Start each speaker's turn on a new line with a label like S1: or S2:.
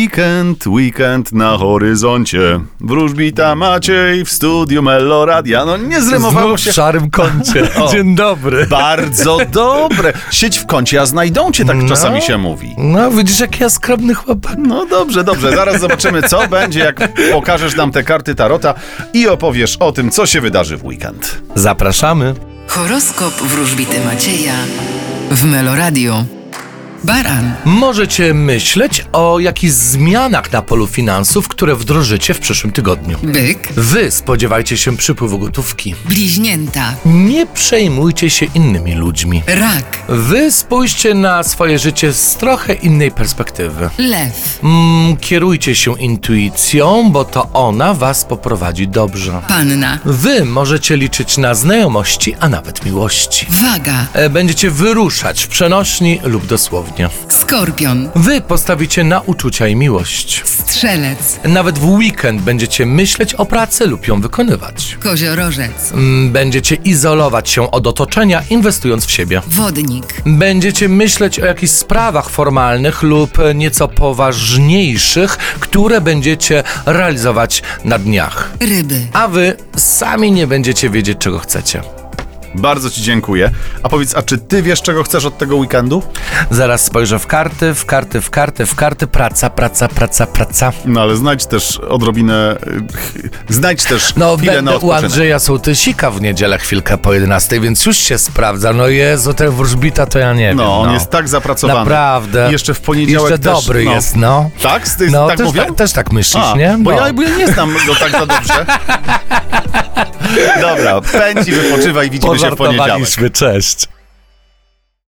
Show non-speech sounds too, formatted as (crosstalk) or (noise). S1: Weekend, weekend na horyzoncie. Wróżbita Maciej w studiu Mello Radia. No nie zrymowało
S2: Znów
S1: się.
S2: w szarym kącie. (laughs)
S1: O.
S2: Dzień dobry. (laughs)
S1: Bardzo dobre. Sieć w kącie, a znajdą cię, tak
S2: No.
S1: czasami się mówi.
S2: No, widzisz, jaki ja skromny chłopak.
S1: No dobrze, dobrze. Zaraz zobaczymy, co będzie, jak pokażesz nam te karty Tarota i opowiesz o tym, co się wydarzy w weekend.
S2: Zapraszamy.
S3: Horoskop wróżbity Macieja w Meloradio. Baran,
S2: Możecie myśleć o jakichś zmianach na polu finansów, które wdrożycie w przyszłym tygodniu.
S3: byk,
S2: Wy spodziewajcie się przypływu gotówki.
S3: bliźnięta,
S2: Nie przejmujcie się innymi ludźmi.
S3: rak,
S2: Wy spójrzcie na swoje życie z trochę innej perspektywy.
S3: lew,
S2: Mm, kierujcie się intuicją, bo to ona was poprowadzi dobrze.
S3: panna,
S2: Wy możecie liczyć na znajomości, a nawet miłości.
S3: waga,
S2: E, Będziecie wyruszać w przenośni lub dosłownie.
S3: skorpion,
S2: Wy postawicie na uczucia i miłość.
S3: strzelec,
S2: Nawet w weekend będziecie myśleć o pracy lub ją wykonywać.
S3: koziorożec,
S2: Mm, Będziecie izolować się od otoczenia, inwestując w siebie.
S3: wodnik,
S2: Będziecie myśleć o jakichś sprawach formalnych lub e, nieco poważniejszych, które będziecie realizować na dniach.
S3: ryby.
S2: A wy sami nie będziecie wiedzieć, czego chcecie.
S1: Bardzo ci dziękuję. A powiedz, a czy ty wiesz, czego chcesz od tego weekendu?
S2: Zaraz spojrzę w karty, w karty, w karty, w karty. Praca, praca, praca, praca.
S1: No ale znajdź też odrobinę... y, Znajdź też
S2: No,
S1: chwilę na
S2: będę u
S1: odpoczynek.
S2: Andrzeja Sołtysika w niedzielę chwilkę po 11, więc już się sprawdza. No Jezu, ten wróżbita to ja nie wiem.
S1: No, on jest tak zapracowany.
S2: Naprawdę.
S1: I Jeszcze w poniedziałek
S2: Jeszcze
S1: też,
S2: dobry
S1: no.
S2: jest, no.
S1: Tak? Ty,
S2: No,
S1: tak
S2: też,
S1: mówią?
S2: tak- też tak myślisz,
S1: A,
S2: nie?
S1: Bo
S2: No.
S1: ja, bo ja nie znam go tak za
S2: (laughs)
S1: dobrze. Dobra, pędzi, wypoczywaj, widzimy się w poniedziałek.
S2: Pożartowaliśmy, cześć.